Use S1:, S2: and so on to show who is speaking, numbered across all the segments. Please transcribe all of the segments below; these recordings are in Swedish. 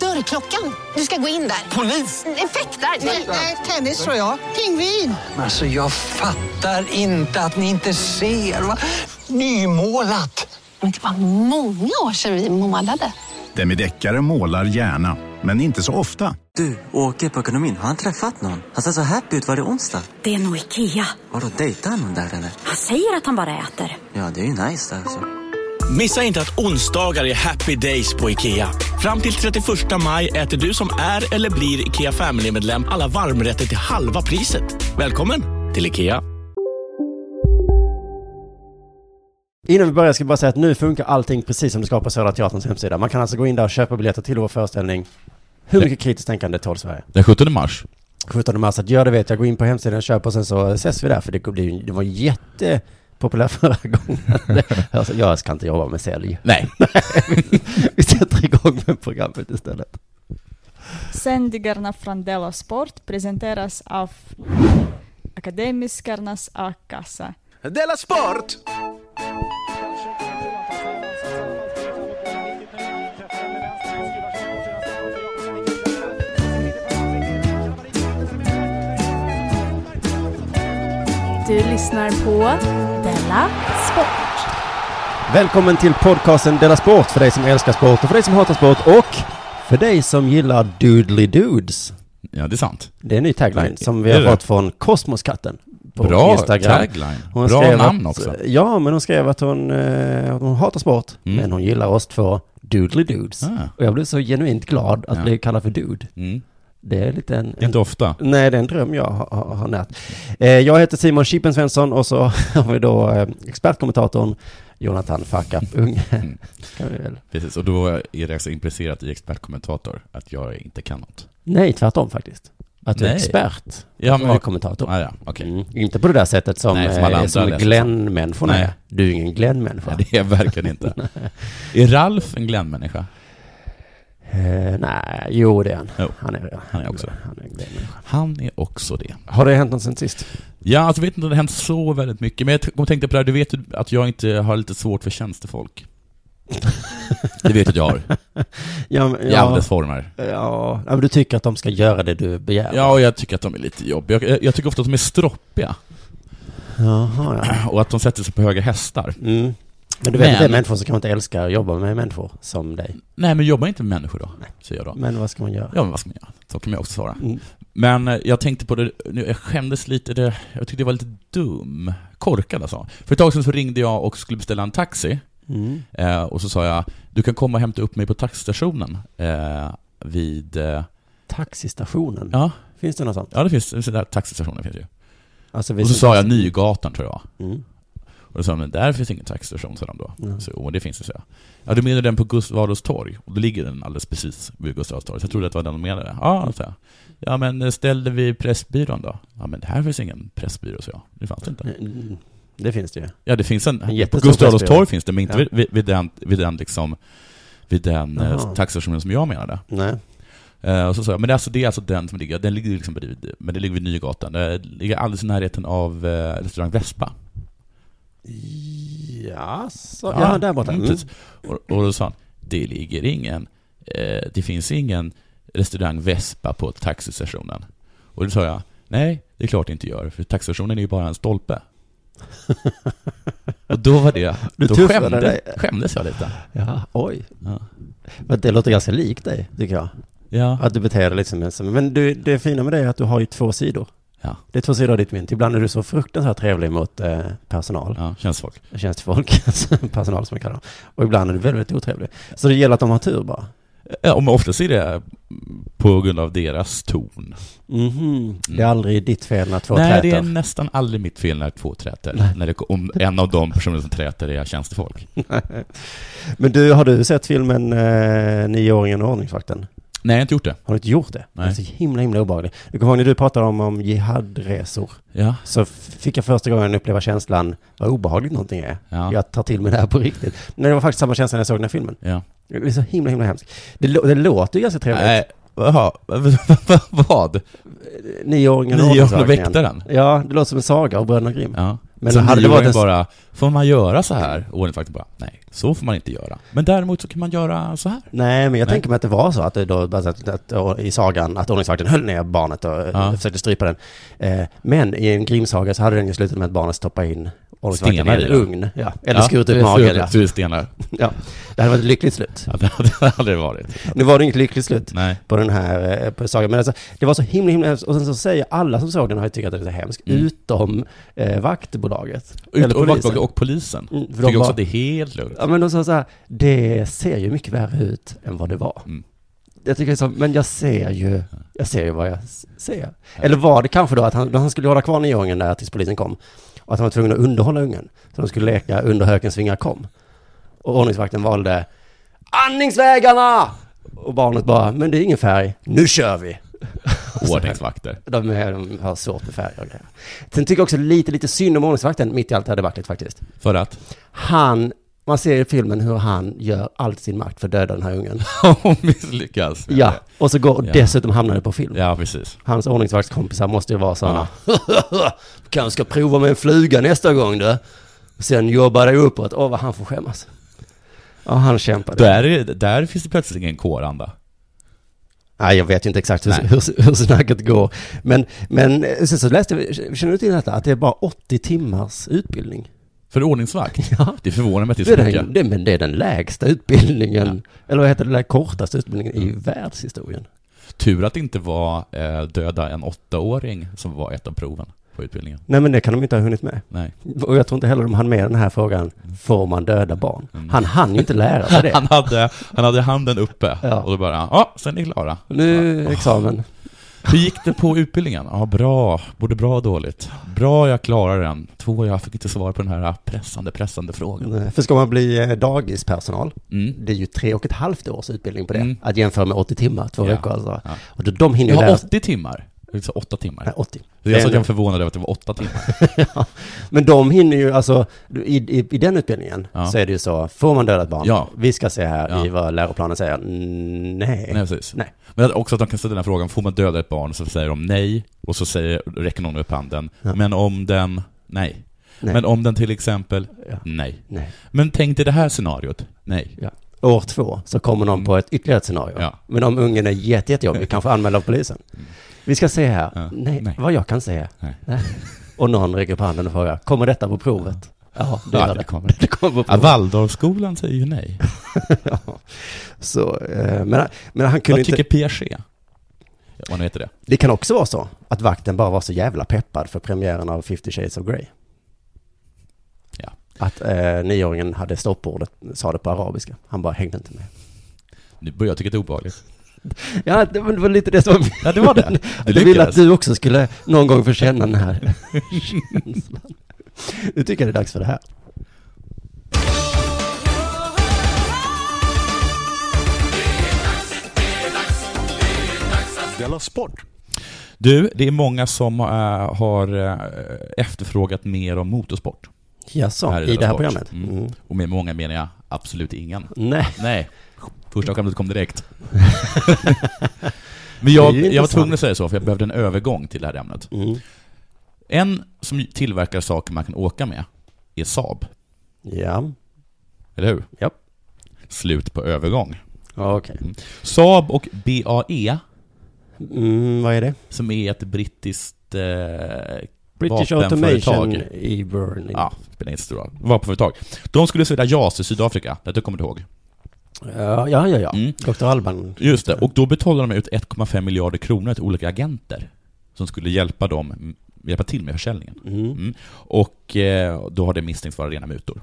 S1: Dörrklockan. Du ska gå in där. Polis? Effektar? Nej, tennis tror jag. Pingvin.
S2: Alltså jag fattar inte att ni inte ser. Va? Nymålat!
S3: Men det var många år sedan vi målade.
S4: Demideckare målar gärna, men inte så ofta.
S5: Du, åker på ekonomin. Har han träffat någon? Han ser så happy ut. Var det onsdag?
S6: Det är nog Ikea.
S5: Har du dejtat någon där eller?
S6: Han säger att han bara äter.
S5: Ja, det är ju nice där alltså.
S7: Missa inte att onsdagar är happy days på IKEA. Fram till 31 maj äter du som är eller blir IKEA Family-medlem alla varmrätter till halva priset. Välkommen till IKEA.
S8: Innan vi börjar ska jag bara säga att nu funkar allting precis som det ska på Södra Teaterns hemsida. Man kan alltså gå in där och köpa biljetter till vår föreställning. Hur mycket kritiskt tänkande tål Sverige?
S9: Den 17 mars.
S8: 17 mars, att gör det vet jag. Gå in på hemsidan och köp och sen så ses vi där. För det, blir ju- det var jättepopulär förra gången. Alltså, jag ska inte jobba med sälj.
S9: Nej.
S8: Vi sätter igång med programmet istället.
S10: Sändningarna från Della Sport presenteras av Akademiskarnas A-kassa.
S11: Della Sport!
S12: Du lyssnar på Della Sport.
S8: Välkommen till podcasten Dela Sport för dig som älskar sport och för dig som hatar sport och för dig som gillar Doodly Dudes.
S9: Ja, det är sant.
S8: Det är en ny tagline
S9: Nej,
S8: som vi
S9: är
S8: har
S9: det?
S8: fått från Kosmoskatten på
S9: Bra
S8: Instagram.
S9: tagline. Bra namn
S8: att,
S9: också.
S8: Ja, men hon skrev att hon, eh, att hon hatar sport,
S9: Mm.
S8: men hon gillar oss två Doodly Dudes.
S9: Ah.
S8: Och jag blev så genuint glad att
S9: Ja.
S8: bli kallad för Dude.
S9: Mm.
S8: Det är lite en...
S9: Det är inte ofta.
S8: Nej, det är en dröm jag har, har, har närt. Eh, jag heter Simon Chippen Svensson och så har vi då eh, expertkommentatorn Jonathan Fuckup Unge.
S9: Mm.
S8: Kan vi väl-
S9: Precis, och då är jag alltså implicerat i expertkommentator att jag inte kan något.
S8: Nej, tvärtom faktiskt. Att du är
S9: Nej.
S8: expert.
S9: Ja,
S8: men... kommentator.
S9: Ah, ja, okej.
S8: Mm. Inte på det där sättet som,
S9: Nej,
S8: Nej,
S9: som alla andra
S8: som
S9: läser.
S8: Glenn-människorna
S9: Nej.
S8: är. Du är ingen Glenn-människa.
S9: Nej, det är jag verkligen inte. är Ralf en Glenn-människa?
S8: Eh, nej, jo det är han.
S9: Jo.
S8: Han är det.
S9: Han är också det.
S8: Han är en Glenn-människa.
S9: Han är också det.
S8: Har det hänt något sen sist?
S9: Ja, alltså jag vet inte, det har hänt så väldigt mycket. Men jag t- kom och tänkte på det här, du vet ju att jag inte har lite svårt för tjänstefolk. det vet du att jag har.
S8: Ja, men-
S9: I
S8: ja,
S9: alldeles former.
S8: ja, ja, men du tycker att de ska göra det du begär?
S9: Ja, och jag tycker att de är lite jobbiga. Jag, jag tycker ofta att de är stroppiga.
S8: Jaha, ja.
S9: Och att de sätter sig på höga hästar.
S8: Mm. Men du vet att det är
S9: Men-
S8: människor som kanske inte älskar att jobba med människor som dig.
S9: Nej, men jobba inte med människor då, säger jag då.
S8: Men vad ska man göra?
S9: Ja, men vad ska man göra? Så kan jag också svara.
S8: Mm.
S9: Men eh, jag tänkte på det, nu, jag skämdes lite, det, jag tyckte det var lite dum. Korkad alltså. För ett tag sedan så ringde jag och skulle beställa en taxi.
S8: Mm.
S9: Eh, och så sa jag, du kan komma och hämta upp mig på taxistationen. Eh, vid, eh,
S8: Taxistationen?
S9: ja,
S8: Finns det något sånt?
S9: ja det finns, sådana där taxistationer finns ju.
S8: Alltså,
S9: Och
S8: vi-
S9: så sa jag Nygatan tror jag.
S8: Mm.
S9: Och då sa de, men där finns ingen taxistation, sa de då.
S8: Mm.
S9: Så, åh, det finns det, så jag. Ja, du menar den på Gustav Adolfs torg? Och då ligger den alldeles precis vid Gustav Adolfs torg. Så jag trodde att det var den de menade.
S8: Mm.
S9: Ja, sa jag. Ja, men eh, ställde vi Pressbyrån då? Ja, men här finns ingen Pressbyrå, så jag. Det fanns inte.
S8: Mm. Det finns det ju.
S9: Ja, det finns en...
S8: En
S9: på
S8: jättestor
S9: Gustav Adolfs
S8: Pressbyrå.
S9: torg finns det, men inte
S8: Ja.
S9: vid, vid, vid den, vid den liksom... Vid den
S8: Jaha.
S9: eh, taxistationen som jag menade.
S8: Nej.
S9: Eh, och så sa jag, men det är, alltså, det är alltså den som ligger, den ligger liksom bredvid, men det ligger vid Nygatan. Det ligger alldeles i närheten av eh, restaurang Vespa.
S8: Ja, så, ja. där borta.
S9: mm,
S8: Mm.
S9: precis. Och, och då sa han, det ligger ingen, eh, det finns ingen restaurang Vespa på taxistationen. Och då sa jag, nej, det är klart det inte gör, för taxistationen är ju bara en stolpe. och då var det,
S8: Du
S9: då
S8: tuffade
S9: skämde,
S8: dig.
S9: skämdes jag lite.
S8: Ja, oj.
S9: Ja.
S8: Men det låter ganska likt dig, tycker jag.
S9: Ja,
S8: Att du beter dig lite som en... som- Men du, det fina med dig är att du har ju två sidor.
S9: Ja.
S8: Det är två sidor av ditt mynt. Ibland är du så fruktansvärt trevlig mot eh, personal,
S9: ja känns folk.
S8: tjänstefolk, alltså personal som jag kallar dem. Och ibland är du väldigt, väldigt otrevlig. Så det gäller att de har tur bara.
S9: Ja, och oftast är det på grund av deras ton.
S8: Mhm. Det är aldrig ditt fel när två
S9: Nej,
S8: träter.
S9: det är nästan aldrig mitt fel när två träter. När det, om en av de personer som träter är tjänstefolk.
S8: Men du, har du sett filmen eh, Nioåringen och ordningsvakten?
S9: Nej, jag har inte gjort det.
S8: Har du inte gjort det?
S9: Nej.
S8: Det är så himla, himla obehagligt. Du kommer ihåg när du pratade om, om jihadresor?
S9: Ja.
S8: Så f- fick jag första gången uppleva känslan vad obehagligt någonting är.
S9: Ja.
S8: Jag tar till mig det här på riktigt. Men det var faktiskt samma känsla när jag såg den här filmen.
S9: Ja.
S8: Det är så himla, himla hemskt. Det, lå- det låter ju ganska trevligt.
S9: Nej, jaha, vad?
S8: Nioåringen och
S9: Nioåringen och
S8: ordensdragningen.
S9: väktaren?
S8: Ja, det låter som en saga av Bröderna Grimm.
S9: Ja.
S8: Men
S9: Men så
S8: hade det varit en...
S9: bara, får man göra så här? Och ordningsvakten bara, nej, så får man inte göra. Men däremot så kan man göra så här.
S8: Nej, men jag
S9: Nej.
S8: tänker mig att det var så att, det då, alltså att, att, och i sagan att ordningsvakten höll ner barnet och
S9: Ja.
S8: ja. försökte strypa den. Eh, men i en Grimm-saga så hade den ju slutat med att barnet stoppade in ordningsvakten
S9: Stenar
S8: i en
S9: i den.
S8: ugn. Ja. Eller
S9: Ja,
S8: skurit
S9: det
S8: ut
S9: är
S8: magen.
S9: skurit ut stenar.
S8: ja. Det hade varit ett lyckligt slut.
S9: Ja, det hade aldrig varit.
S8: Nu var det inget lyckligt slut
S9: Nej.
S8: på den här eh, på sagan. Men alltså, det var så himla, himla hemskt. Och sen så säger alla som såg den har ju tyckt att det är så hemskt.
S9: Mm.
S8: Utom eh, vaktbolaget.
S9: Ut- och vaktbolaget och polisen.
S8: Mm, för
S9: Tycker
S8: de
S9: också
S8: bara,
S9: att det är helt lugnt.
S8: Ja, men de sa så här, det ser ju mycket värre ut än vad det var. Jag tycker liksom, men jag ser ju, jag ser ju vad jag s- ser. Eller var det kanske då att han, han skulle hålla kvar nioåringen där tills polisen kom. Och att han var tvungen att underhålla ungen. Så de skulle leka under hökens vingar kom. Och ordningsvakten valde andningsvägarna! Och barnet bara, men det är ingen färg, nu kör vi!
S9: Ordningsvakter.
S8: De, är, de har svårt med färger och grejer. Sen tycker jag också lite, lite synd om ordningsvakten mitt i allt det här debaclet faktiskt.
S9: För att?
S8: Han, man ser i filmen hur han gör allt sin makt för att döda den här ungen.
S9: Och misslyckas.
S8: Ja, och så går, och
S9: Ja.
S8: dessutom hamnar det på film.
S9: Ja, precis.
S8: Hans ordningsvaktskompisar måste ju vara sådana. Kanske ska prova med en fluga nästa gång du. Sen jobbar det uppåt. Åh, vad han får skämmas. Ja, han kämpade.
S9: Där, är, där finns det plötsligt ingen kåranda.
S8: Nej, jag vet ju inte exakt hur,
S9: Nej.
S8: hur, hur snacket går. Men, men eh, sen så läste jag, känner du till detta? Att det är bara 80 timmars utbildning.
S9: För ordningsvakt?
S8: Ja.
S9: Det förvånar mig att det
S8: Det
S9: är så
S8: är, den,
S9: mycket.
S8: det, men det är den lägsta utbildningen, eller vad heter det, den kortaste utbildningen i
S9: Mm.
S8: världshistorien.
S9: Tur att det inte var eh, döda en åttaåring som var ett av proven på utbildningen.
S8: Nej men det kan de inte ha hunnit med.
S9: Nej.
S8: Och jag tror inte heller de hann med den här frågan, får man döda barn? Han hann ju inte lära sig det.
S9: Han hade, han hade handen uppe och då bara, ja, sen är ni klara.
S8: Nu examen.
S9: Hur gick det på utbildningen? Ja, bra. Både bra och dåligt. Bra, jag klarar den. Två, jag fick inte svar på den här pressande, pressande frågan.
S8: För ska man bli eh, dagispersonal,
S9: Mm.
S8: det är ju tre och ett halvt års utbildning på det.
S9: Mm.
S8: Att jämföra med 80 timmar, två
S9: Ja.
S8: veckor alltså.
S9: Ja.
S8: Och då, de hinner
S9: Jag
S8: ju
S9: har
S8: lära
S9: 80 timmar. Jag sa åtta timmar.
S8: Nej, 80.
S9: Jag sa att
S8: Det är-
S9: jag förvånad över att det var åtta timmar.
S8: ja. Men de hinner ju, alltså, i, i, i den utbildningen
S9: Ja.
S8: så är det ju så, får man döda ett barn?
S9: Ja.
S8: Vi ska se här
S9: Ja.
S8: i vad läroplanen säger, Mm, nej.
S9: Nej, precis.
S8: Nej.
S9: Men att också att de kan ställa den här frågan, får man döda ett barn? Så säger de nej, och så säger, räcker någon upp handen.
S8: Ja.
S9: Men om den, nej.
S8: Nej.
S9: Men om den till exempel,
S8: Ja.
S9: nej.
S8: Nej.
S9: Men tänk dig det här scenariot, nej.
S8: Ja. År två så kommer någon på ett ytterligare ett scenario.
S9: Mm. Ja. Mm.
S8: Men om ungen är jätte, jättejobbig, kanske anmäld av polisen. Vi ska se här,
S9: Ja.
S8: nej,
S9: Nej.
S8: vad jag kan se.
S9: Nej.
S8: Nej. Och någon räcker upp handen och frågar, kommer detta på provet? Ja, det
S9: Ja,
S8: gör
S9: det
S8: det.
S9: kommer.
S8: Det kommer på
S9: Ja,
S8: provet.
S9: Waldorfskolan säger ju nej.
S8: ja. Så, eh, men, men han kunde
S9: Vad
S8: inte...
S9: tycker Piaget? Ja, Vad nu heter det?
S8: Det kan också vara så att vakten bara var så jävla peppad för premiären av 50 shades of Grey.
S9: Ja.
S8: Att eh, nioåringen hade stoppordet, sa det på arabiska. Han bara hängde inte med.
S9: Nu börjar jag tycka det är obehagligt.
S8: Ja, det var det var lite det som...
S9: Ja, det var det. Du
S8: jag ville
S9: lyckades.
S8: att du också skulle någon gång få känna den här känslan. Nu tycker jag det är dags för det här.
S4: Della Sport.
S9: Du, det är många som eh, har eh, efterfrågat mer om motorsport.
S8: Jaså,
S9: Här
S8: i det här
S9: Sport.
S8: programmet?
S9: Mm.
S8: Mm.
S9: Och med många menar jag absolut ingen.
S8: Nej.
S9: Nej. Första skämtet kom direkt. Men jag,
S8: Det
S9: jag
S8: är ju
S9: var
S8: intressant.
S9: tvungen att säga så, för jag behövde en övergång till det här ämnet.
S8: Mm.
S9: En som tillverkar saker man kan åka med är Saab,
S8: Ja,
S9: eller hur?
S8: Japp.
S9: Slut på övergång.
S8: okej.
S9: Saab och BAE,
S8: Mm, vad är det?
S9: som är ett brittiskt eh,
S8: British
S9: vapenföretag.
S8: Automation i Berlin.
S9: Ja, spelar inte så stor roll. Vapenföretag. De skulle sälja JAS i Sydafrika, det kommer du ihåg.
S8: Ja, ja, ja. ja.
S9: Mm.
S8: Dr. Alban.
S9: Just det, och då betalade de ut 1,5 miljarder kronor till olika agenter som skulle hjälpa dem hjälpa till med försäljningen.
S8: Mm.
S9: Mm. Och eh, då har det misstänkts vara rena mutor.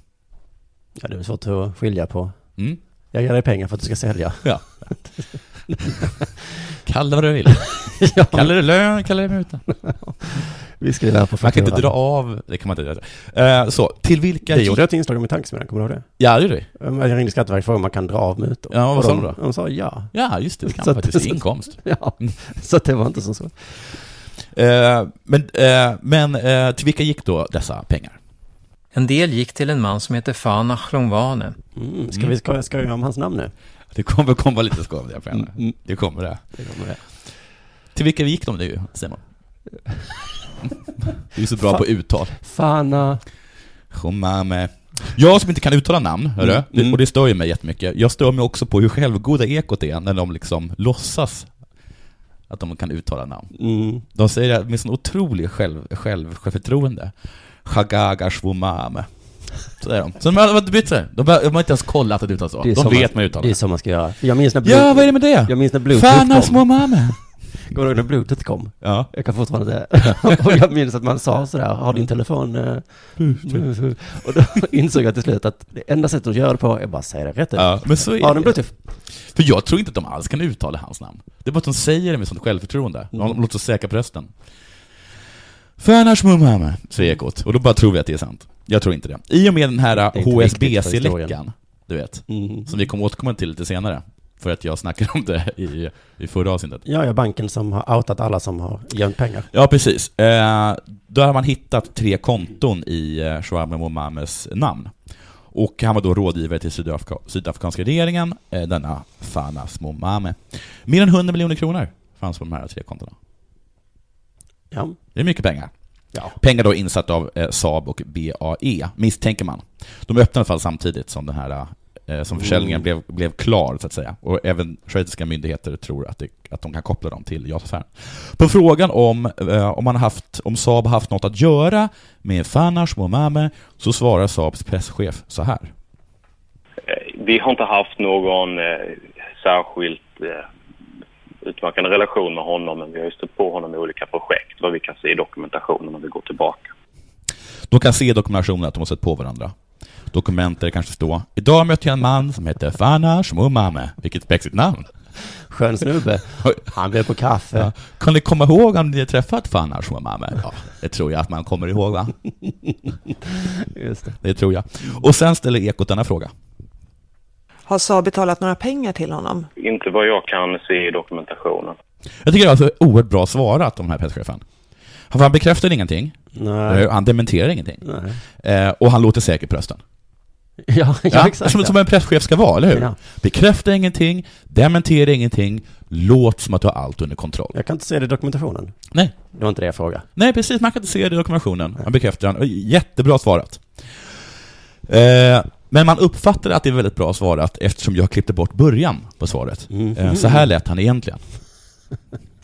S8: Ja, det är svårt att skilja på.
S9: Mm.
S8: Jag ger dig pengar för att du ska sälja.
S9: Ja. Kalla det vad du vill. Kalla det lön, kalla det muta.
S8: Vi skriver här på
S9: Man kan inte dra
S8: fakturan.
S9: av... Det kan man inte göra. Eh, Så, till vilka...
S8: Det gjorde jag ett inslag om i tankesmedjan, kommer du ihåg det?
S9: Ja, det gjorde
S8: Eh, men Jag ringde Skatteverket och frågade om man kan dra av mutor.
S9: Ja, vad
S8: Och
S9: sa
S8: de-
S9: de då?
S8: De sa ja.
S9: Ja, just det, det kan
S8: Så
S9: man
S8: att-
S9: faktiskt. Inkomst.
S8: ja, så att det var inte så svårt.
S9: Eh, Men, eh, men eh, till vilka gick då dessa pengar?
S11: En del gick till en man som heter Fanah Longwane.
S8: Mm, ska vi skoja, skoja om hans namn nu?
S9: Det kommer komma lite skoj om det, jag mm. Det kommer det.
S8: Det kommer det.
S9: Till vilka gick de nu, Simon? Du är så bra
S8: Fa-
S9: på uttal.
S8: Fana...
S9: Chumame. Jag som inte kan uttala namn, hörru,
S8: Mm,
S9: det-
S8: mm.
S9: och det stör ju mig jättemycket. Jag stör mig också på hur självgoda ekot är när de liksom låtsas att de kan uttala namn.
S8: Mm.
S9: De säger det med sån otrolig själv, själv, självförtroende. Chagaga shwumame. Så är de. Så de har de har inte brytt sig. De har, de har inte ens kollat att det uttalas så.
S8: Det är
S9: De
S8: som
S9: vet
S8: man-
S9: man uttalar
S8: Det är så man ska göra. Jag minns när
S9: Ja, vad är det med det?
S8: Jag minns när
S9: Fan av
S8: Bluetooth kom.
S9: små mammor.
S8: Kommer du ihåg när Bluetooth kom?
S9: Ja.
S8: Jag kan fortfarande det. och jag minns att man sa sådär, har din telefon... eh, och då insåg jag till slut att det enda sättet att göra det på är bara att säga det rätt ut.
S9: Ja, men så är
S8: har den
S9: det.
S8: Bluetooth?
S9: För jag tror inte att de alls kan uttala hans namn. Det är bara att de säger det med sånt självförtroende. De
S8: Mm.
S9: låter så säkra på rösten. Fanash Mumhame, säger ekot. Och då bara tror vi att det är sant. Jag tror inte det. I och med den här
S8: Det är inte viktigt för
S9: HSBC-läckan,
S8: historien.
S9: du vet,
S8: Mm.
S9: som vi kommer återkomma till lite senare, för att jag snackade om det i, i förra avsnittet.
S8: Ja, ja, banken som har outat alla som har gömt pengar.
S9: Ja, precis. Eh, då har man hittat tre konton i eh, Shwame Momames namn. Och han var då rådgivare till Sydafrika, sydafrikanska regeringen, eh, denna Fanas Momame. Mer än 100 miljoner kronor fanns på de här tre kontona.
S8: Ja.
S9: Det är mycket pengar.
S8: Ja.
S9: Pengar då insatt av eh, Saab och BAE, misstänker man. De öppnade i alla fall samtidigt som den här eh, som försäljningen
S8: Mm.
S9: blev, blev klar, så att säga. Och även schweiziska myndigheter tror att, det, att de kan koppla dem till JAS-affären. På frågan om, eh, om, man har haft, om Saab har haft något att göra med Fanash Momame, så svarar Saabs presschef så här.
S13: Vi har inte haft någon eh, särskilt eh, utmärkande relation med honom men vi har ju stött på honom i olika projekt vad vi kan se i dokumentationen om vi går tillbaka.
S9: De kan se i dokumentationen att de har sett på varandra. Dokumenter kanske står ”Idag mötte jag en man som hette Fanash Momame”, vilket spexigt namn.
S8: Skön snubbe. Han bjöd på kaffe.
S9: Ja. eh, Kan ni komma ihåg om ni har träffat Fanash Momame? Ja, det tror jag att man kommer ihåg va?
S8: Just det.
S9: Det tror jag. Och sen ställer Ekot denna fråga.
S14: Har Saab betalat några pengar till honom?
S13: Inte vad jag kan se i dokumentationen.
S9: Jag tycker det är alltså oerhört bra svarat om den här presschefen. Han- för Han bekräftar ingenting. Eh,
S8: Nej.
S9: Han dementerar ingenting.
S8: Nej.
S9: Eh, och han låter säker på rösten.
S8: Ja, ja, exakt.
S9: Som,
S8: ja.
S9: som en presschef ska vara, eller hur?
S8: Ja.
S9: Bekräfta ingenting, dementera ingenting, låt som att du har allt under kontroll.
S8: Jag kan inte se det i dokumentationen.
S9: Nej.
S8: Det var inte det jag frågade.
S9: Nej, precis. Man kan inte se det i dokumentationen. Man bekräftar den. Jättebra svarat. Eh, men man uppfattar att det är väldigt bra svarat eftersom jag klippte bort början på svaret.
S8: Mm.
S9: Eh, så här lät han egentligen.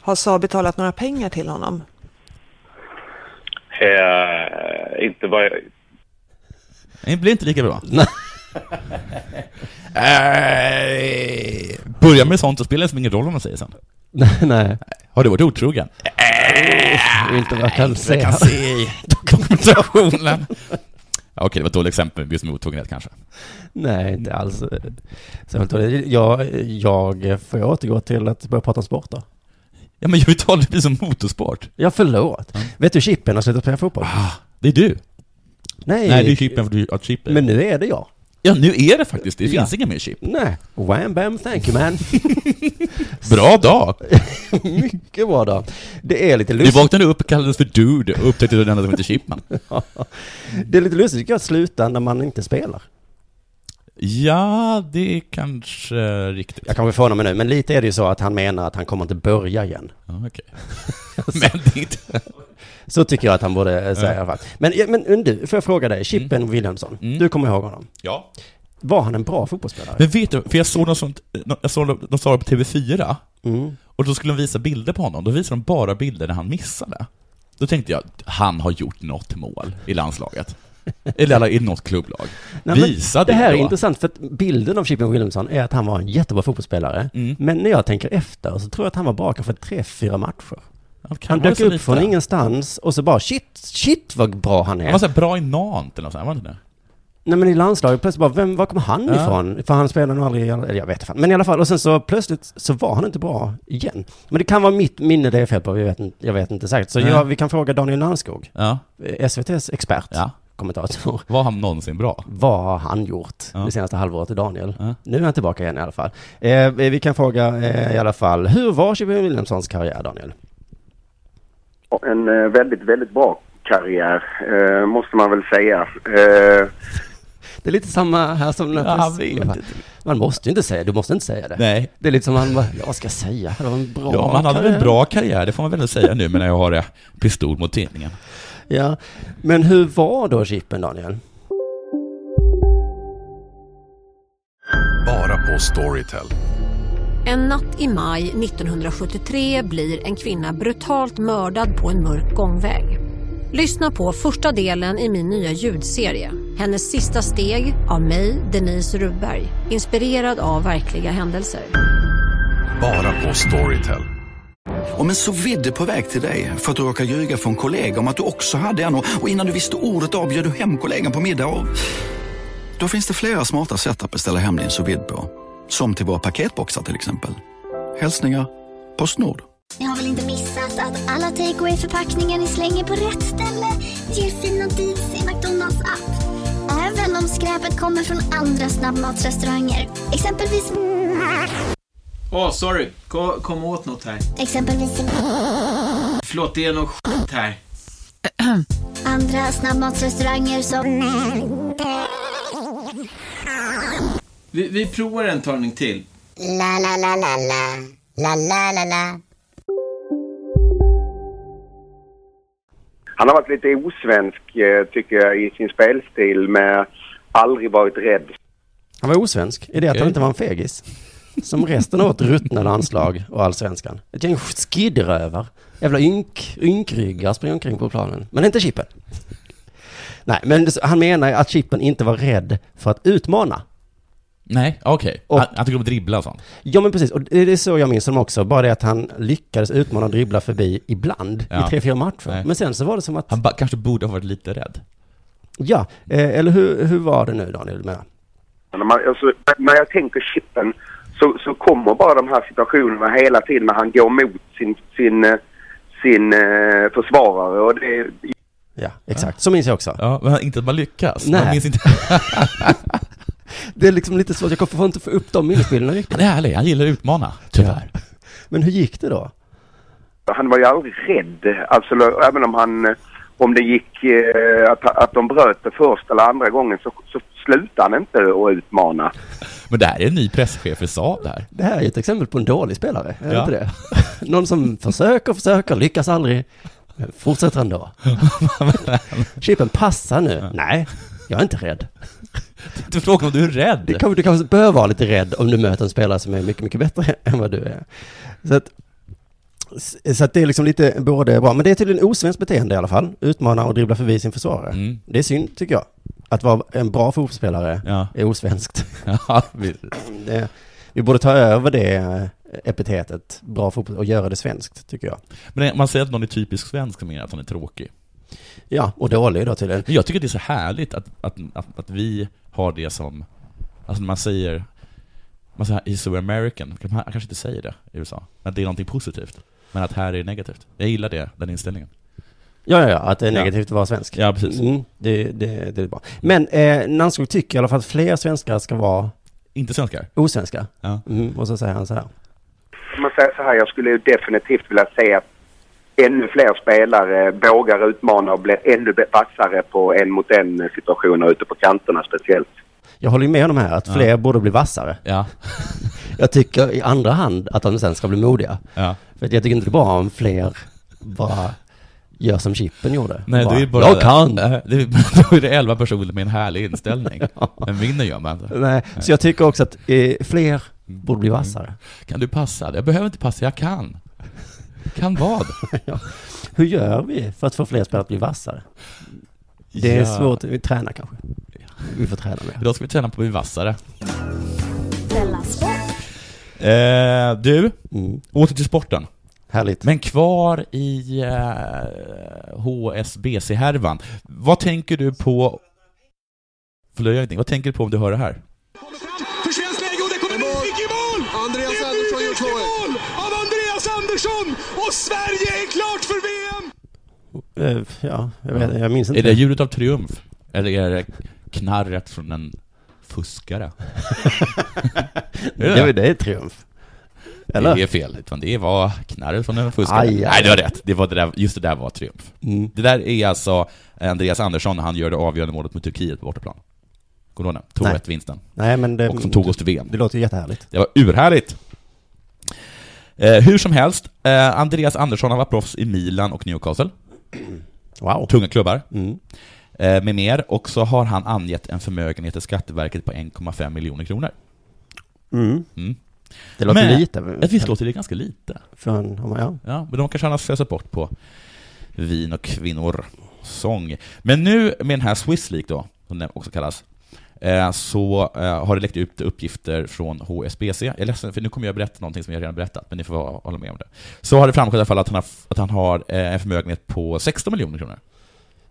S14: Har Saab betalat några pengar till honom?
S13: Eh, inte vad jag...
S9: Det blir inte lika bra. eh, börja med sånt, så spelar det liksom ingen roll vad man säger sen.
S8: Nej, nej.
S9: Har du varit otrogen?
S8: Det är inte vad jag Ah, kan
S9: inte vad
S8: se.
S9: jag kan se i dokumentationen. Ja, Okej, det var ett dåligt exempel just med otrogenhet kanske.
S8: Nej, inte alls. Särskilt dåligt. Jag, jag får jag återgå till att börja prata om sport då?
S9: Ja, men jag uttalar det som motorsport.
S8: Ja, förlåt. Mm. Vet du, Chippen har slutat spela fotboll.
S9: Det är du.
S8: Nej.
S9: Nej, det är chippen för du har chippen.
S8: Eh, Men nu är det jag.
S9: Ja, nu är det faktiskt det. Det finns
S8: Ja.
S9: inga mer chip.
S8: Nej. Wham, bam, thank you man.
S9: Bra dag!
S8: Mycket bra då. Det är lite
S9: Du
S8: lustigt.
S9: vaknade upp och kallades för Dude och upptäckte att du enda som hette Chipman.
S8: Det är lite lustigt tycker jag att sluta när man inte spelar.
S9: Ja, det är kanske riktigt.
S8: Jag kanske förvånar mig nu, men lite är det ju så att han menar att han kommer inte börja igen.
S9: Ja, okej. Men det är inte...
S8: Så tycker jag att han borde eh, säga i alla fall. Men, ja, men du, får jag fråga dig, Chippen
S9: Mm.
S8: Wilhelmsson, du kommer ihåg honom?
S9: Ja.
S8: Var han en bra fotbollsspelare?
S9: Men vet du, för jag såg någon sånt, eh, jag såg de, de sa det på TV4,
S8: Mm.
S9: och då skulle de visa bilder på honom. Då visade de bara bilder när han missade. Då tänkte jag, han har gjort något mål i landslaget. Eller alla- i något klubblag.
S8: Nej, men
S9: Visa
S8: det här är
S9: då.
S8: intressant för att bilden av Chippen Wilhelmsson är att han var en jättebra fotbollsspelare.
S9: Mm.
S8: Men när jag tänker efter så tror jag att han var bara kanske tre, fyra matcher. Han
S9: vara
S8: dök
S9: så
S8: upp
S9: lite.
S8: från ingenstans och så bara shit, shit vad bra han är.
S9: Alltså, Han var så här bra i Nant eller något sånt, här, var han inte det?
S8: Nej men i landslaget, plötsligt bara, vem, var kom han
S9: Ja.
S8: ifrån? För han spelade nog aldrig, i all- eller jag vet inte fan. Men i alla fall, och sen så plötsligt så var han inte bra igen. Men det kan vara mitt minne det är fel på, jag vet, inte- jag vet inte säkert. Så
S9: Nej.
S8: jag, vi kan fråga Daniel eh, Nanskog,
S9: Ja.
S8: SVTs expert, kommentator.
S9: Var han någonsin bra?
S8: Vad har han gjort det senaste halvåret till Daniel? Nu är han tillbaka igen i alla fall. Eh, vi kan fråga eh, i alla fall, hur var Kjell Wilhelmssons karriär Daniel?
S15: Ja, En eh, väldigt, väldigt bra karriär, eh, måste man väl säga. Eh,
S8: Det är lite samma här som...
S15: Ja, jag vet
S8: man, måste ju inte säga, du måste inte säga det.
S9: Nej.
S8: Det är lite som han bara, "Ja, vad ska jag säga? Det var en bra
S9: ja, men han hade väl en
S8: karriär."
S9: bra karriär, det får man väl säga nu men när jag har det. Pistol mot tidningen.
S8: Ja, men hur var då chippen Daniel?
S16: Bara på Storytel.
S17: En natt i maj 1973 blir en kvinna brutalt mördad på en mörk gångväg. Lyssna på första delen i min nya ljudserie. Hennes sista steg av mig, Denise Rubberg. Inspirerad av verkliga händelser.
S16: Bara på Storytel.
S18: Om en så vidde på väg till dig för att du råkar ljuga från kollega om att du också hade en och och innan du visste ordet av bjöd du hem kollegan på middag och... Då finns det flera smarta sätt att beställa hem din sous vide på. Som till våra paketboxar till exempel. Hälsningar Postnord.
S19: Ni har väl inte missat att alla takeaway förpackningar ni slänger på rätt ställe ger fina deals i McDonalds app. Även om skräpet kommer från andra snabbmatsrestauranger. Exempelvis...
S20: Åh, sorry. Kom, kom åt något här.
S19: Exempelvis...
S20: Förlåt, det är något skit här.
S19: Andra snabbmatsrestauranger som...
S20: Vi, vi provar en talning till.
S19: La, la, la, la, la. La, la, la, la.
S15: Han har varit lite osvensk, eh, tycker jag, i sin spelstil med aldrig varit rädd.
S8: Han var osvensk. Är det att han
S15: Okej.
S8: inte var en fegis? Som resten av vårt ruttna landslag och allsvenskan. Ett gäng skidrövar. Jävla ynk, ynkryggar springer omkring på planen. Men inte Chippen. Nej, men det- han menar ju att Chippen inte var rädd för att utmana.
S9: Nej, okej.
S8: Och-
S9: Han, han tycker om att dribbla och sånt.
S8: Ja, men precis. Och det det är så jag minns honom också. Bara det att han lyckades utmana och dribbla förbi ibland i
S9: Ja.
S8: tre, fyra matcher.
S9: Nej.
S8: Men sen så var det som att...
S9: Han ba, kanske borde ha varit lite rädd.
S8: Ja, eh, eller hur, hur var det nu Daniel? Med?
S15: När, man, alltså, när jag tänker chippen så, så kommer bara de här situationerna hela tiden när han går mot sin, sin, eh, sin eh, försvarare. Och det,
S8: Ja, exakt. Så minns jag också.
S9: Ja, men inte att man lyckas.
S8: Nej.
S9: Man minns inte.
S8: det är liksom lite svårt, jag kommer- får inte få upp de minnesbilderna riktigt.
S9: Han är ärlig, han gillar att utmana, tyvärr.
S8: Men hur gick det då?
S15: han var ju aldrig rädd. Alltså, även om han... eh, Om det gick eh, att, att de bröt det första eller andra gången så, så slutade han inte att utmana.
S9: Men det här är en ny presschef i Saab det här.
S8: Det här är ju ett exempel på en dålig spelare, är det
S9: Ja.
S8: inte det? Någon som försöker, försöker, lyckas aldrig, men fortsätter ändå. Chippen, passa nu. Nej, jag är inte rädd.
S9: Du frågar om du är rädd.
S8: Du kanske, du kanske bör vara lite rädd om du möter en spelare som är mycket, mycket bättre än vad du är. Så att, så att det är liksom lite både bra, men det är tydligen osvenskt beteende i alla fall. Utmana och dribbla förbi sin försvarare.
S9: Mm.
S8: Det är synd, tycker jag. Att vara en bra fotbollsspelare är osvenskt.
S9: Ja, vi-
S8: Det, vi borde ta över det eh, epitetet, bra fotboll, och göra det svenskt, tycker jag.
S9: Men man säger att någon är typisk svensk, men att han är tråkig.
S8: Ja, och dålig då tydligen.
S9: Men jag tycker det är så härligt att, att, att, att vi har det som, alltså när man säger, man säger "He's so American, man kanske inte säger det i USA, men att det är någonting positivt. Men att här är det negativt. Jag gillar det, den inställningen.
S8: Ja, ja, ja, att det är
S9: Ja.
S8: negativt att vara svensk.
S9: Ja, precis.
S8: Mm, det, det, det är bra. Men eh, Nanskog tycker i alla fall att fler svenskar ska vara...
S9: Inte svenskar?
S8: Osvenskar.
S9: Ja.
S8: Mm, och så säger han så här.
S15: Om man säger så här, jag skulle ju definitivt vilja se att ännu fler spelare vågar utmana och blir ännu bä- vassare på en mot en situationer ute på kanterna speciellt.
S8: Jag håller ju med om här, att fler borde bli vassare.
S9: Ja.
S8: jag tycker i andra hand att de sen ska bli modiga.
S9: Ja.
S8: För att jag tycker inte det är bra om fler bara gör som Chippen gjorde.
S9: Nej,
S8: bara,
S9: det är bara
S8: Jag kan!
S9: Nej, Det är, då är det elva personer med en härlig inställning. Men vinner gör man inte.
S8: Nej, så jag tycker också att eh, fler borde bli vassare.
S9: Kan du passa? Jag behöver inte passa, jag kan. Kan vad?
S8: ja. Hur gör vi för att få fler spelare att bli vassare? Det är
S9: Ja.
S8: svårt, vi tränar kanske. Vi får träna mer.
S9: Idag ska vi träna på att bli vassare.
S12: Della Sport.
S9: Eh, du, åter till sporten.
S8: Mm. Härligt.
S9: Men kvar i eh, HSBC-härvan. Vad tänker du på förlöjligning. Vad tänker du på om du hör det här?
S21: För svenskt läge och det kommer Murvik i mål! Andreas Andersson gjort mål! Av Andreas Andersson! Och Sverige är klart för VM!
S8: Eh, Ja, jag, vet, jag minns inte.
S9: Är det ljudet av triumf? Eller är det knarret från en fuskare?
S8: Det var- det är triumf. Eller?
S9: Det är fel. Utan det var knarret från en fuskare.
S8: Aj, aj,
S9: Nej, du har
S8: aj.
S9: rätt. Det var det där, just det där var triumf.
S8: Mm.
S9: Det där är alltså Andreas Andersson när han gör det avgörande målet mot Turkiet på bortaplan. Kommer du ihåg den?
S8: Nej.
S9: 2-1-vinsten.
S8: Nej, men det-
S9: Och som tog oss till VM.
S8: Det låter ju jättehärligt.
S9: Det var urhärligt. Eh, hur som helst, eh, Andreas Andersson har varit proffs i Milan och Newcastle.
S8: Wow.
S9: Tunga klubbar.
S8: Mm.
S9: Eh, med mer. Och så har han angett en förmögenhet till Skatteverket på 1,5 miljoner kronor.
S8: Mm.
S9: Mm.
S8: Det låter
S9: Men-
S8: lite.
S9: Ja, visst låter det ganska lite.
S8: Från, ja.
S9: Ja, men de kanske han har slösat bort på vin och kvinnor, sång. Men nu med den här Swiss League då, som den också kallas, eh, så eh, har det läckt ut uppgifter från HSBC. Jag är ledsen, för nu kommer jag berätta någonting som jag redan berättat, men ni får vara- hålla med om det. Så har det framgått i alla fall att han har, att han har eh, en förmögenhet på 16 miljoner kronor.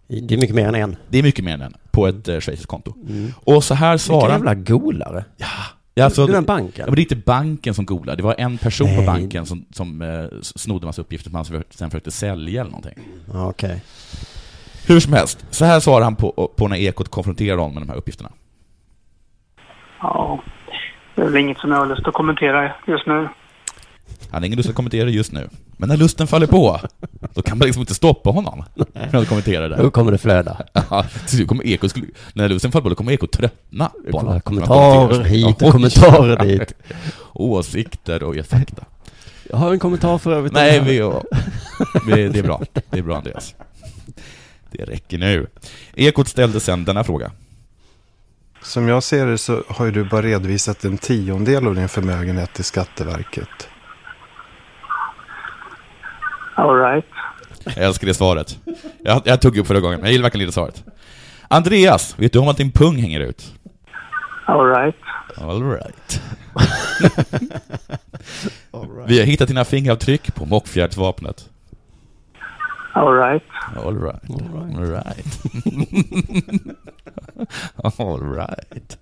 S8: Det är mycket mer än en.
S9: Det är mycket mer än en, på ett eh, schweiziskt konto.
S8: Mm.
S9: Och så här svarar...
S8: Vilken jävla golare.
S9: Ja, alltså,
S8: Det är den banken.
S9: Ja, men det är inte banken som golar. Det var en person på
S8: Nej.
S9: banken som, som eh, snodde massa uppgifter som han sen försökte sälja eller någonting.
S8: Ja, Okej.
S9: Hur som helst, så här svarar han på, på när Ekot konfronterar honom med de här uppgifterna.
S22: Ja, det är väl inget som jag har lust att kommentera just nu.
S9: Han har ingen lust att kommentera just nu. Men när lusten faller på, då kan man liksom inte stoppa honom. När att kommentera det.
S8: Då kommer det flöda.
S9: Ja, till slut kommer Ekot, skulle- när lusten faller på, då kommer Ekot tröttna
S8: Det
S9: på
S8: kommer
S9: honom.
S8: kommentarer
S9: Kommentera.
S8: hit och
S9: Oj.
S8: kommentarer dit.
S9: Åsikter och fakta.
S8: Jag har en kommentar för övrigt.
S9: Nej, vi, vi, det är bra. Det är bra, Andreas. Det räcker nu. Ekot ställde sen denna fråga.
S23: Som jag ser det så har ju du bara redovisat en tiondel av din förmögenhet till Skatteverket.
S22: All right.
S9: Jag älskar det svaret. Jag, jag tog upp förra gången, men jag gillar verkligen det svaret. Andreas, vet du om att din pung hänger ut?
S22: All right.
S9: All right. Vi har hittat dina fingeravtryck på mockfjärdsvapnet.
S22: All right.
S9: All right. All right. All right.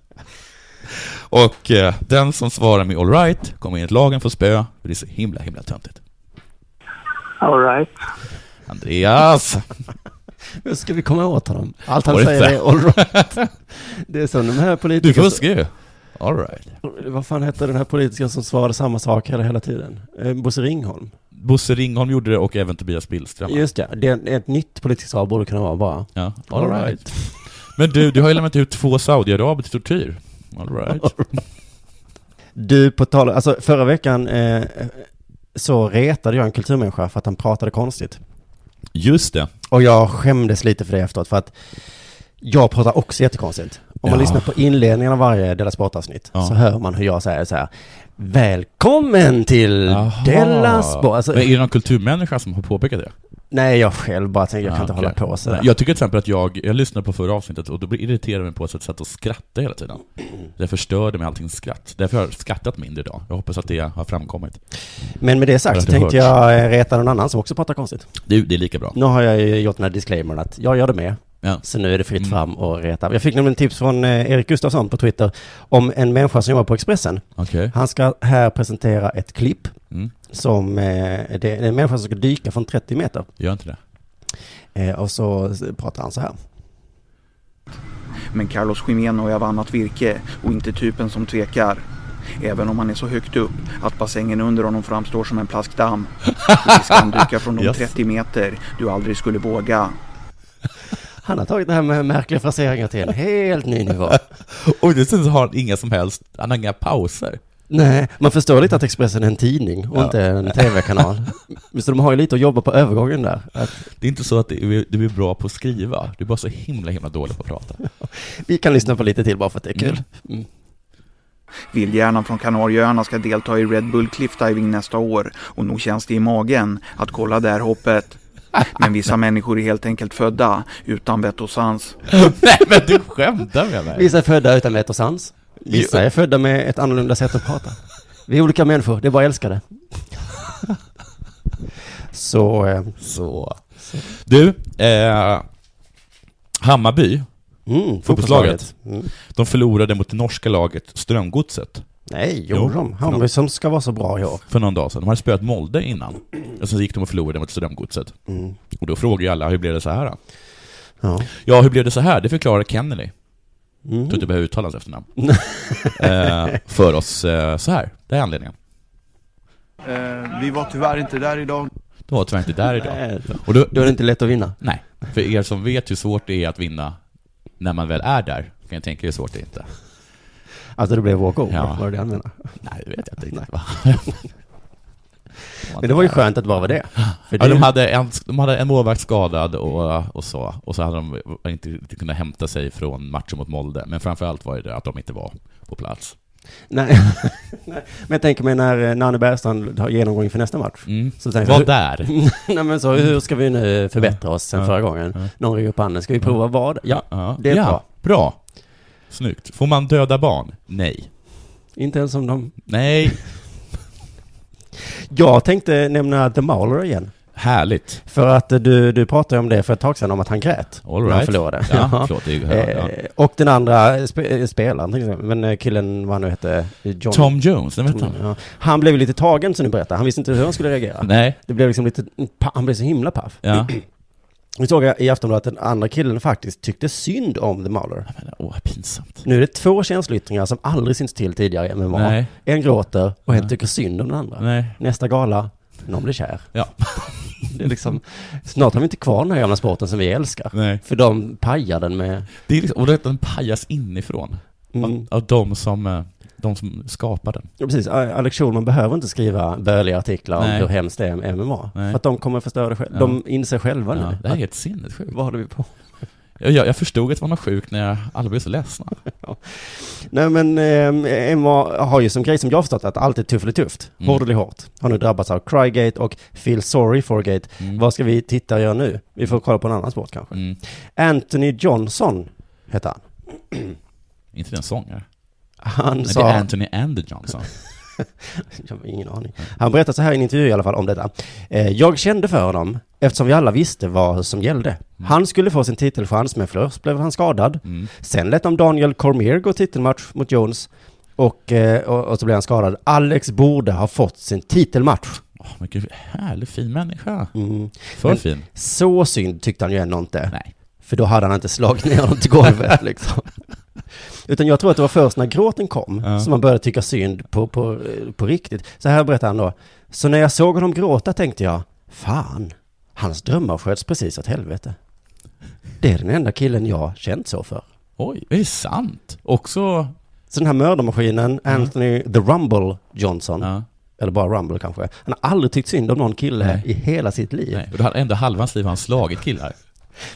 S9: Och eh, den som svarar med all right kommer enligt lagen få spö, för det är så himla, himla töntigt.
S22: All right.
S9: Andreas!
S8: Hur ska vi komma åt honom? Allt han
S9: Var det
S8: säger
S9: inte?
S8: är all right. Det är som de här
S9: Du
S8: politikerna...
S9: fuskar ju! All right.
S8: Vad fan hette den här politikern som svarade samma sak hela, hela tiden? Eh, Bosse Ringholm.
S9: Bosse Ringholm gjorde det och även Tobias Billström.
S8: Just det. det är ett nytt politiskt svar borde kunna vara bara.
S9: Ja, all right. Men du, du har ju lämnat ut två saudiaraber till tortyr. All right.
S8: Du, på tal alltså förra veckan eh, så retade jag en kulturmänniska för att han pratade konstigt.
S9: Just det.
S8: Och jag skämdes lite för det efteråt för att jag pratar också jättekonstigt. Om man
S9: Ja.
S8: lyssnar på inledningen av varje Della Sport-avsnitt
S9: Ja.
S8: så hör man hur jag säger så här. Välkommen till Della Sport. Alltså,
S9: Men är det någon kulturmänniska som har påpekat det?
S8: nej, jag själv bara tänker jag kan inte
S9: Ja, Ah, okej.
S8: hålla på sådär.
S9: Nej, Jag tycker till exempel att jag, jag lyssnade på förra avsnittet och då blir- irriterade mig på att jag satt och skrattade hela tiden. Det förstörde mig allting skratt. Därför har jag skrattat mindre idag. Jag hoppas att det har framkommit.
S8: Men med det sagt
S9: Eller
S8: så
S9: att det
S8: tänkte
S9: hörts.
S8: jag eh, reta någon annan som också pratar konstigt.
S9: Du, det är lika bra.
S8: Nu har jag ju gjort den här disclaimern att jag gör det med.
S9: Ja.
S8: Så nu är det fritt
S9: Mm.
S8: fram och reta. Jag fick nämligen tips från eh, Erik Gustafsson på Twitter om en människa som jobbar på Expressen.
S9: Okej.
S8: Han ska här presentera ett klipp
S9: Mm.
S8: som, eh, det är en människa som ska dyka från 30 meter.
S9: Gör inte det.
S8: Eh, och så pratar han så här.
S24: Men Carlos Jimeno är av annat virke och inte typen som tvekar. Även om han är så högt upp att bassängen under honom framstår som en plaskdamm. Visst ska han dyka från de
S8: Yes.
S24: 30 meter du aldrig skulle våga.
S8: Han har tagit det här med märkliga fraseringar till en helt ny nivå.
S9: och dessutom har han inga som helst, han har inga pauser.
S8: Nej, man förstår lite att Expressen är en tidning och
S9: Ja.
S8: inte en tv-kanal. Så de har ju lite att jobba på övergången där. Att
S9: Det är inte så att du är, du är bra på att skriva, du är bara så himla, himla dålig på att prata.
S8: vi kan lyssna på lite till bara för att det är kul.
S24: Vildhjärnan från Kanarieöarna ska delta i Red Bull Cliff Diving nästa år och nog känns det i magen att kolla det här hoppet. Men vissa människor är helt enkelt födda utan vett och sans.
S9: Nej men du skämtar med mig!
S8: Vissa är födda utan vett och sans. Vissa är födda med ett annorlunda sätt att prata. Vi är olika människor, det är bara att älska det. Så... eh, mm,
S9: Så. Du, eh, Hammarby
S8: Mm,
S9: fotbollslaget.
S8: fotbollslaget.
S9: De förlorade mot det norska laget Strömgodset.
S8: Nej, gjorde de?
S9: för
S8: Hammarby
S9: någon-
S8: som ska vara så bra i år.
S9: För någon dag sedan. De hade spöat Molde innan. Och sen gick de och förlorade mot Strömgodset.
S8: Mm.
S9: Och då frågar ju alla, hur blev det så här då?
S8: Ja.
S9: Ja, hur blev det så här? Det förklarar Kennedy.
S8: Mm.
S9: Jag tror inte jag behöver uttala hans efternamn. eh, för oss eh, så här. Det är anledningen.
S1: Eh, vi var tyvärr inte där idag.
S9: De var tyvärr inte där
S1: Nej,
S9: idag. Och då,
S8: då är det inte lätt att vinna.
S9: Nej, för er som vet hur svårt det är att vinna när man väl är där, kan jag tänka er hur svårt det är inte.
S8: Alltså det blev walkover,
S9: Ja.
S8: var det det han menade?
S9: Nej, det vet jag inte riktigt. va?
S8: Men det var ju skönt att bara vara det. För
S9: Ja,
S8: det-
S9: de, hade en, de hade en målvakt skadad och, och så, och så hade de inte riktigt kunnat hämta sig från matchen mot Molde. Men framförallt var det det att de inte var på plats.
S8: Nej. Nej, men jag tänker mig när eh, Nanne Bergstrand har genomgång inför nästa match.
S9: Mm.
S8: Så tänker
S9: Var
S8: jag,
S9: där.
S8: Nej men så, hur ska vi nu förbättra oss sen
S9: Ja.
S8: förra gången?
S9: Ja.
S8: Någon ringer upp handen, ska vi prova vad? Ja,
S9: Ja.
S8: det är
S9: ja,
S8: bra.
S9: Bra. Snyggt. Får man döda barn? Nej.
S8: Inte ens om de...
S9: Nej.
S8: Jag tänkte nämna The Mauler igen.
S9: Härligt.
S8: För att eh, du, du pratade om det för ett tag sedan, om att han grät
S9: All
S8: när han
S9: right.
S8: förlorade.
S9: Ja, förlåt, det är ju- ja, ja.
S8: Eh, Och den andra spe- eh, spelaren, till exempel, men eh, killen, vad han nu hette, eh, John...
S9: Tom Jones, nej, vet
S8: Tom-
S9: han.
S8: ja. Han blev ju lite tagen, som du berättade. Han visste inte hur han skulle reagera.
S9: Nej.
S8: Det blev liksom lite... pa- Han blev så himla paff.
S9: Ja.
S8: Nu såg jag i Aftonbladet att den andra killen faktiskt tyckte synd om The Mauler.
S9: Åh, vad pinsamt.
S8: Nu är det två känsloyttringar som aldrig synts till tidigare i MMA.
S9: Nej.
S8: En gråter och en
S9: Nej.
S8: tycker synd om den andra.
S9: Nej.
S8: Nästa gala, någon blir kär.
S9: Ja.
S8: Det är liksom, snart har vi inte kvar den här gamla sporten som vi älskar.
S9: Nej.
S8: För de pajar den med...
S9: Det är liksom, och det, den pajas inifrån.
S8: Mm.
S9: Av, av de, som, eh, de som skapar den.
S8: Ja, precis. A- Alex Schulman behöver inte skriva böliga artiklar om
S9: Nej.
S8: hur hemskt det är med MMA.
S9: Nej.
S8: För att de kommer förstöra det själva.
S9: Ja.
S8: De inser själva
S9: Ja,
S8: nu.
S9: det här är
S8: att-
S9: helt sinnessjukt.
S8: Vad håller vi på
S9: Jag, jag, jag förstod att man var sjuk när jag- alla blev så ledsna.
S8: Nej men eh, MMA har ju som grej som jag har förstått att allt är tufft eller tufft.
S9: Mm.
S8: Hårt eller hårt. Har nu drabbats av Crygate och Feel Sorry for Gate.
S9: Mm.
S8: Vad ska vi titta och göra nu? Vi får kolla på en annan sport kanske. Anthony Johnson heter han.
S9: Inte den sångare.
S8: Han
S9: Nej,
S8: sa...
S9: Det är Anthony Ander Johnson.
S8: Jag har ingen aning. Han berättar så här i en intervju i alla fall om detta. Eh, jag kände för honom eftersom vi alla visste vad som gällde.
S9: Mm.
S8: Han skulle få sin titelchans men först blev han skadad.
S9: Mm.
S8: Sen lät de Daniel Cormier gå titelmatch mot Jones och, eh, och, och så blev han skadad. Alex borde ha fått sin titelmatch.
S9: Åh, men gud, härlig fin människa.
S8: Mm.
S9: För
S8: Men
S9: fin.
S8: Så synd tyckte han ju ändå inte.
S9: Nej.
S8: För då hade han inte slagit ner honom till golvet liksom. Utan jag tror att det var först när gråten kom
S9: Ja.
S8: som man började tycka synd på, på, eh, på riktigt. Så här berättar han då. Så när jag såg honom gråta tänkte jag, fan, hans drömmar sköts precis åt helvete. Det är den enda killen jag känt så för.
S9: Oj, är det sant? Också...
S8: Så den här mördarmaskinen,
S9: Mm.
S8: Anthony the Rumble Johnson, eller bara Rumble kanske, han har aldrig tyckt synd om någon kille
S9: Nej.
S8: i hela sitt liv.
S9: Nej. Och då hade ändå halva hans liv har han slagit killar.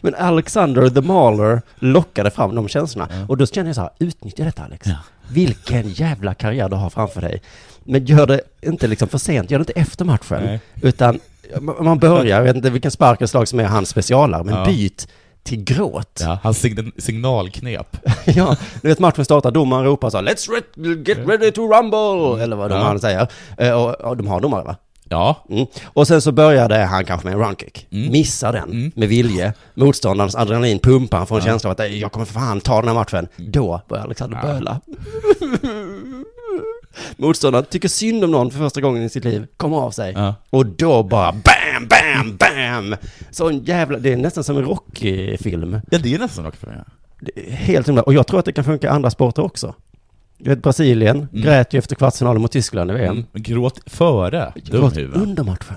S8: Men Alexander the Mauler lockade fram de känslorna. Och då känner jag så här, utnyttja detta Alex. Vilken jävla karriär du har framför dig. Men gör det inte liksom för sent, gör det inte efter matchen.
S9: Nej.
S8: Utan om man börjar, jag vet inte vilken spark eller slag som är hans specialare, men
S9: Ja.
S8: byt till gråt.
S9: Ja, hans sign- signalknep.
S8: Ja, du vet matchen startar, domaren ropar så här, Let's re- get ready to rumble! Eller vad
S9: Mm. Ja.
S8: domaren säger. Eh, Och, och de har domare va?
S9: Ja.
S8: Mm. Och sen så började han kanske med en roundkick.
S9: Mm.
S8: Missar den med vilje. Motståndarens adrenalin pumpar, han får en känsla av att "Ej, jag kommer för fan ta den här matchen.
S9: Mm.
S8: Då börjar Alexander böla. Motståndaren tycker synd om någon för första gången i sitt liv, kommer av sig.
S9: Ja.
S8: Och då bara BAM, BAM, BAM! Sån jävla, det är nästan som en Rocky-film.
S9: ja, det är nästan något för mig.
S8: Det är Helt himla, och jag tror att det kan funka i andra sporter också. Du vet Brasilien, grät ju efter kvartsfinalen mot Tyskland i VM.
S9: Mm. Gråt före
S8: Gråt
S9: dumhuvud.
S8: under matchen.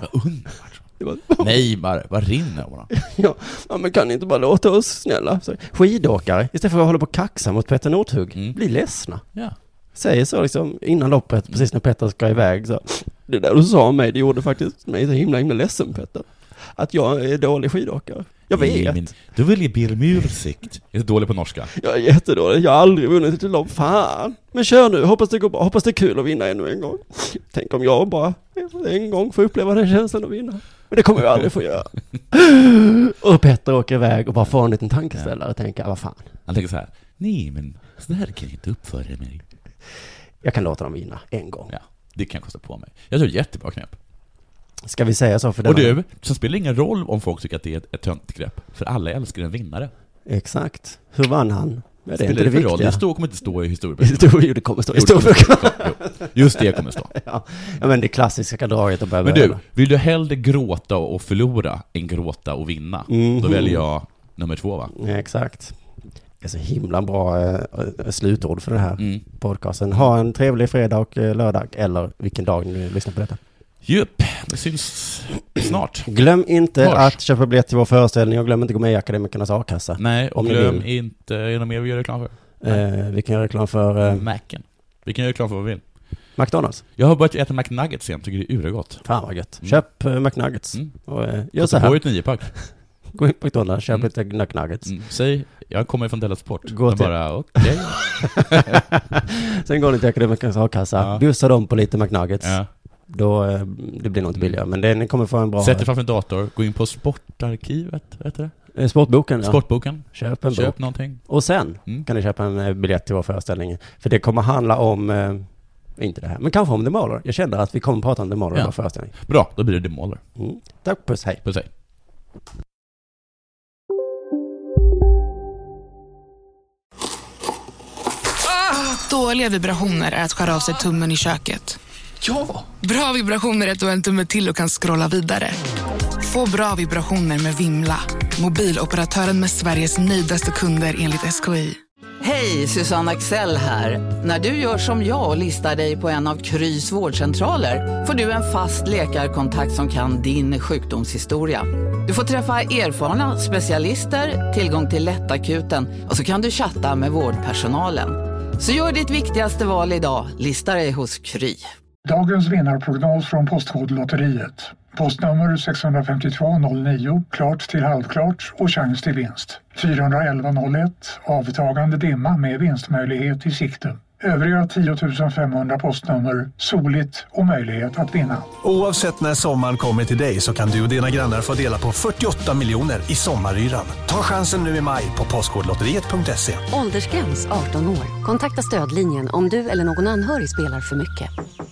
S9: Nej, bara, bara rinner om honom.
S8: Ja, ja, men kan ni inte bara låta oss snälla? Så, skidåkare, istället för att hålla på och kaxa mot Petter Northug, bli ledsna.
S9: Ja.
S8: Säger så liksom innan loppet, precis när Petter ska iväg så. Det där du sa om mig, det gjorde faktiskt mig så himla himla ledsen Petter. Att jag är dålig skidåkare. Jag
S9: Nej,
S8: vet,
S9: men Du vill ju ber om ursäkt. Jag är så dålig på norska.
S8: jag är jättedålig, jag har aldrig vunnit ett lopp, fan. Men kör nu, hoppas det går bra, hoppas det är kul att vinna ännu en gång. Tänk om jag bara en gång får uppleva den känslan att vinna. Men det kommer jag aldrig få göra. Och Petter åker iväg och bara får en liten tankeställare och tänker, "Ah, vad fan.
S9: Han tänker så här. Nej, men så där kan jag inte uppföra mig.
S8: Jag kan låta dem vinna en gång.
S9: Ja, det kan jag kosta på mig. Jag tror det är ett jättebra knep.
S8: Ska vi säga så för
S9: Och
S8: denna-
S9: du, sen spelar det ingen roll om folk tycker att det är ett, ett töntigt grepp, för alla älskar en vinnare.
S8: Exakt. Hur vann han? Ja, det är inte det
S9: för roll?
S8: viktiga.
S9: Det står, kommer inte stå i historieböckerna.
S8: Jo, det kommer stå i
S9: Jo, det kommer
S8: historieböckerna.
S9: stå. Jo, Just det kommer stå.
S8: Ja, ja, men det klassiska draget att börja
S9: Men du,
S8: med.
S9: vill du hellre gråta och förlora än gråta och vinna? Då
S8: Mhm.
S9: väljer jag nummer två va?
S8: Ja, exakt. Det är så himla bra eh, slutord för den här
S9: Mm.
S8: podcasten. Ha en trevlig fredag och eh, lördag, eller vilken dag ni lyssnar på detta.
S9: Jupp, det syns snart.
S8: Glöm inte
S9: Hörs.
S8: att köpa biljett till vår föreställning och glöm inte att gå med i Akademikernas a-kassa.
S9: Nej, och
S8: Om ni
S9: glöm
S8: vill.
S9: inte, är det något mer vi gör reklam för?
S8: Eh, vi kan göra reklam för eh,
S9: Macen. Vi kan göra reklam för vad vi vill.
S8: McDonalds.
S9: Jag har börjat äta McNuggets igen, tycker det är urgott.
S8: Fan vad
S9: Mm.
S8: gött. Köp eh, McNuggets. Och, eh, gör så
S9: Gå
S8: här.
S9: ett niopack.
S8: Gå in på McDonalds, köp lite McNuggets.
S9: Mm. Säg, jag kommer från Della Sport.
S8: Gå
S9: Men
S8: till-
S9: bara, okej.
S8: Sen går ni till Akademikernas a-kassa,
S9: Mm. Ja.
S8: bjussar dem på lite McNuggets.
S9: Ja. Mm.
S8: Då, eh, det blir nog inte billigare, men det, ni kommer få en bra...
S9: Sätt dig framför en dator, gå in på Sportarkivet, vad heter det?
S8: Eh, Sportboken, ja.
S9: Sportboken.
S8: Köp en
S9: Köp
S8: bok.
S9: någonting.
S8: Och sen kan ni köpa en eh, biljett till vår föreställning. För det kommer handla om, eh, inte det här, men kanske om The Mauler. Jag känner att vi kommer prata om The Mauler i
S9: Ja.
S8: vår föreställning.
S9: Bra, då blir det Demoler.
S8: Mm. Tack, puss, hej.
S9: Puss hej.
S2: Dåliga vibrationer är att skära av sig tummen i köket.
S18: Ja!
S2: Bra vibrationer är att du har en tumme till och kan scrolla vidare. Få bra vibrationer med Vimla. Mobiloperatören med Sveriges nöjdaste kunder enligt SKI.
S3: Hej, Susanne Axel här. När du gör som jag och listar dig på en av Krys vårdcentraler får du en fast läkarkontakt som kan din sjukdomshistoria. Du får träffa erfarna specialister, tillgång till lättakuten och så kan du chatta med vårdpersonalen. Så gör ditt viktigaste val idag, listar dig hos Kry.
S5: Dagens vinnarprognos från Postkodlotteriet. Postnummer 65209, klart till halvklart och chans till vinst. 41101, avtagande dimma med vinstmöjlighet i sikte. Övriga 10 500 postnummer, soligt och möjlighet att vinna.
S6: Oavsett när sommaren kommer till dig så kan du och dina grannar få dela på 48 miljoner i sommaryran. Ta chansen nu i maj på Postkodlotteriet.se.
S17: Åldersgräns 18 år. Kontakta stödlinjen om du eller någon anhörig spelar för mycket.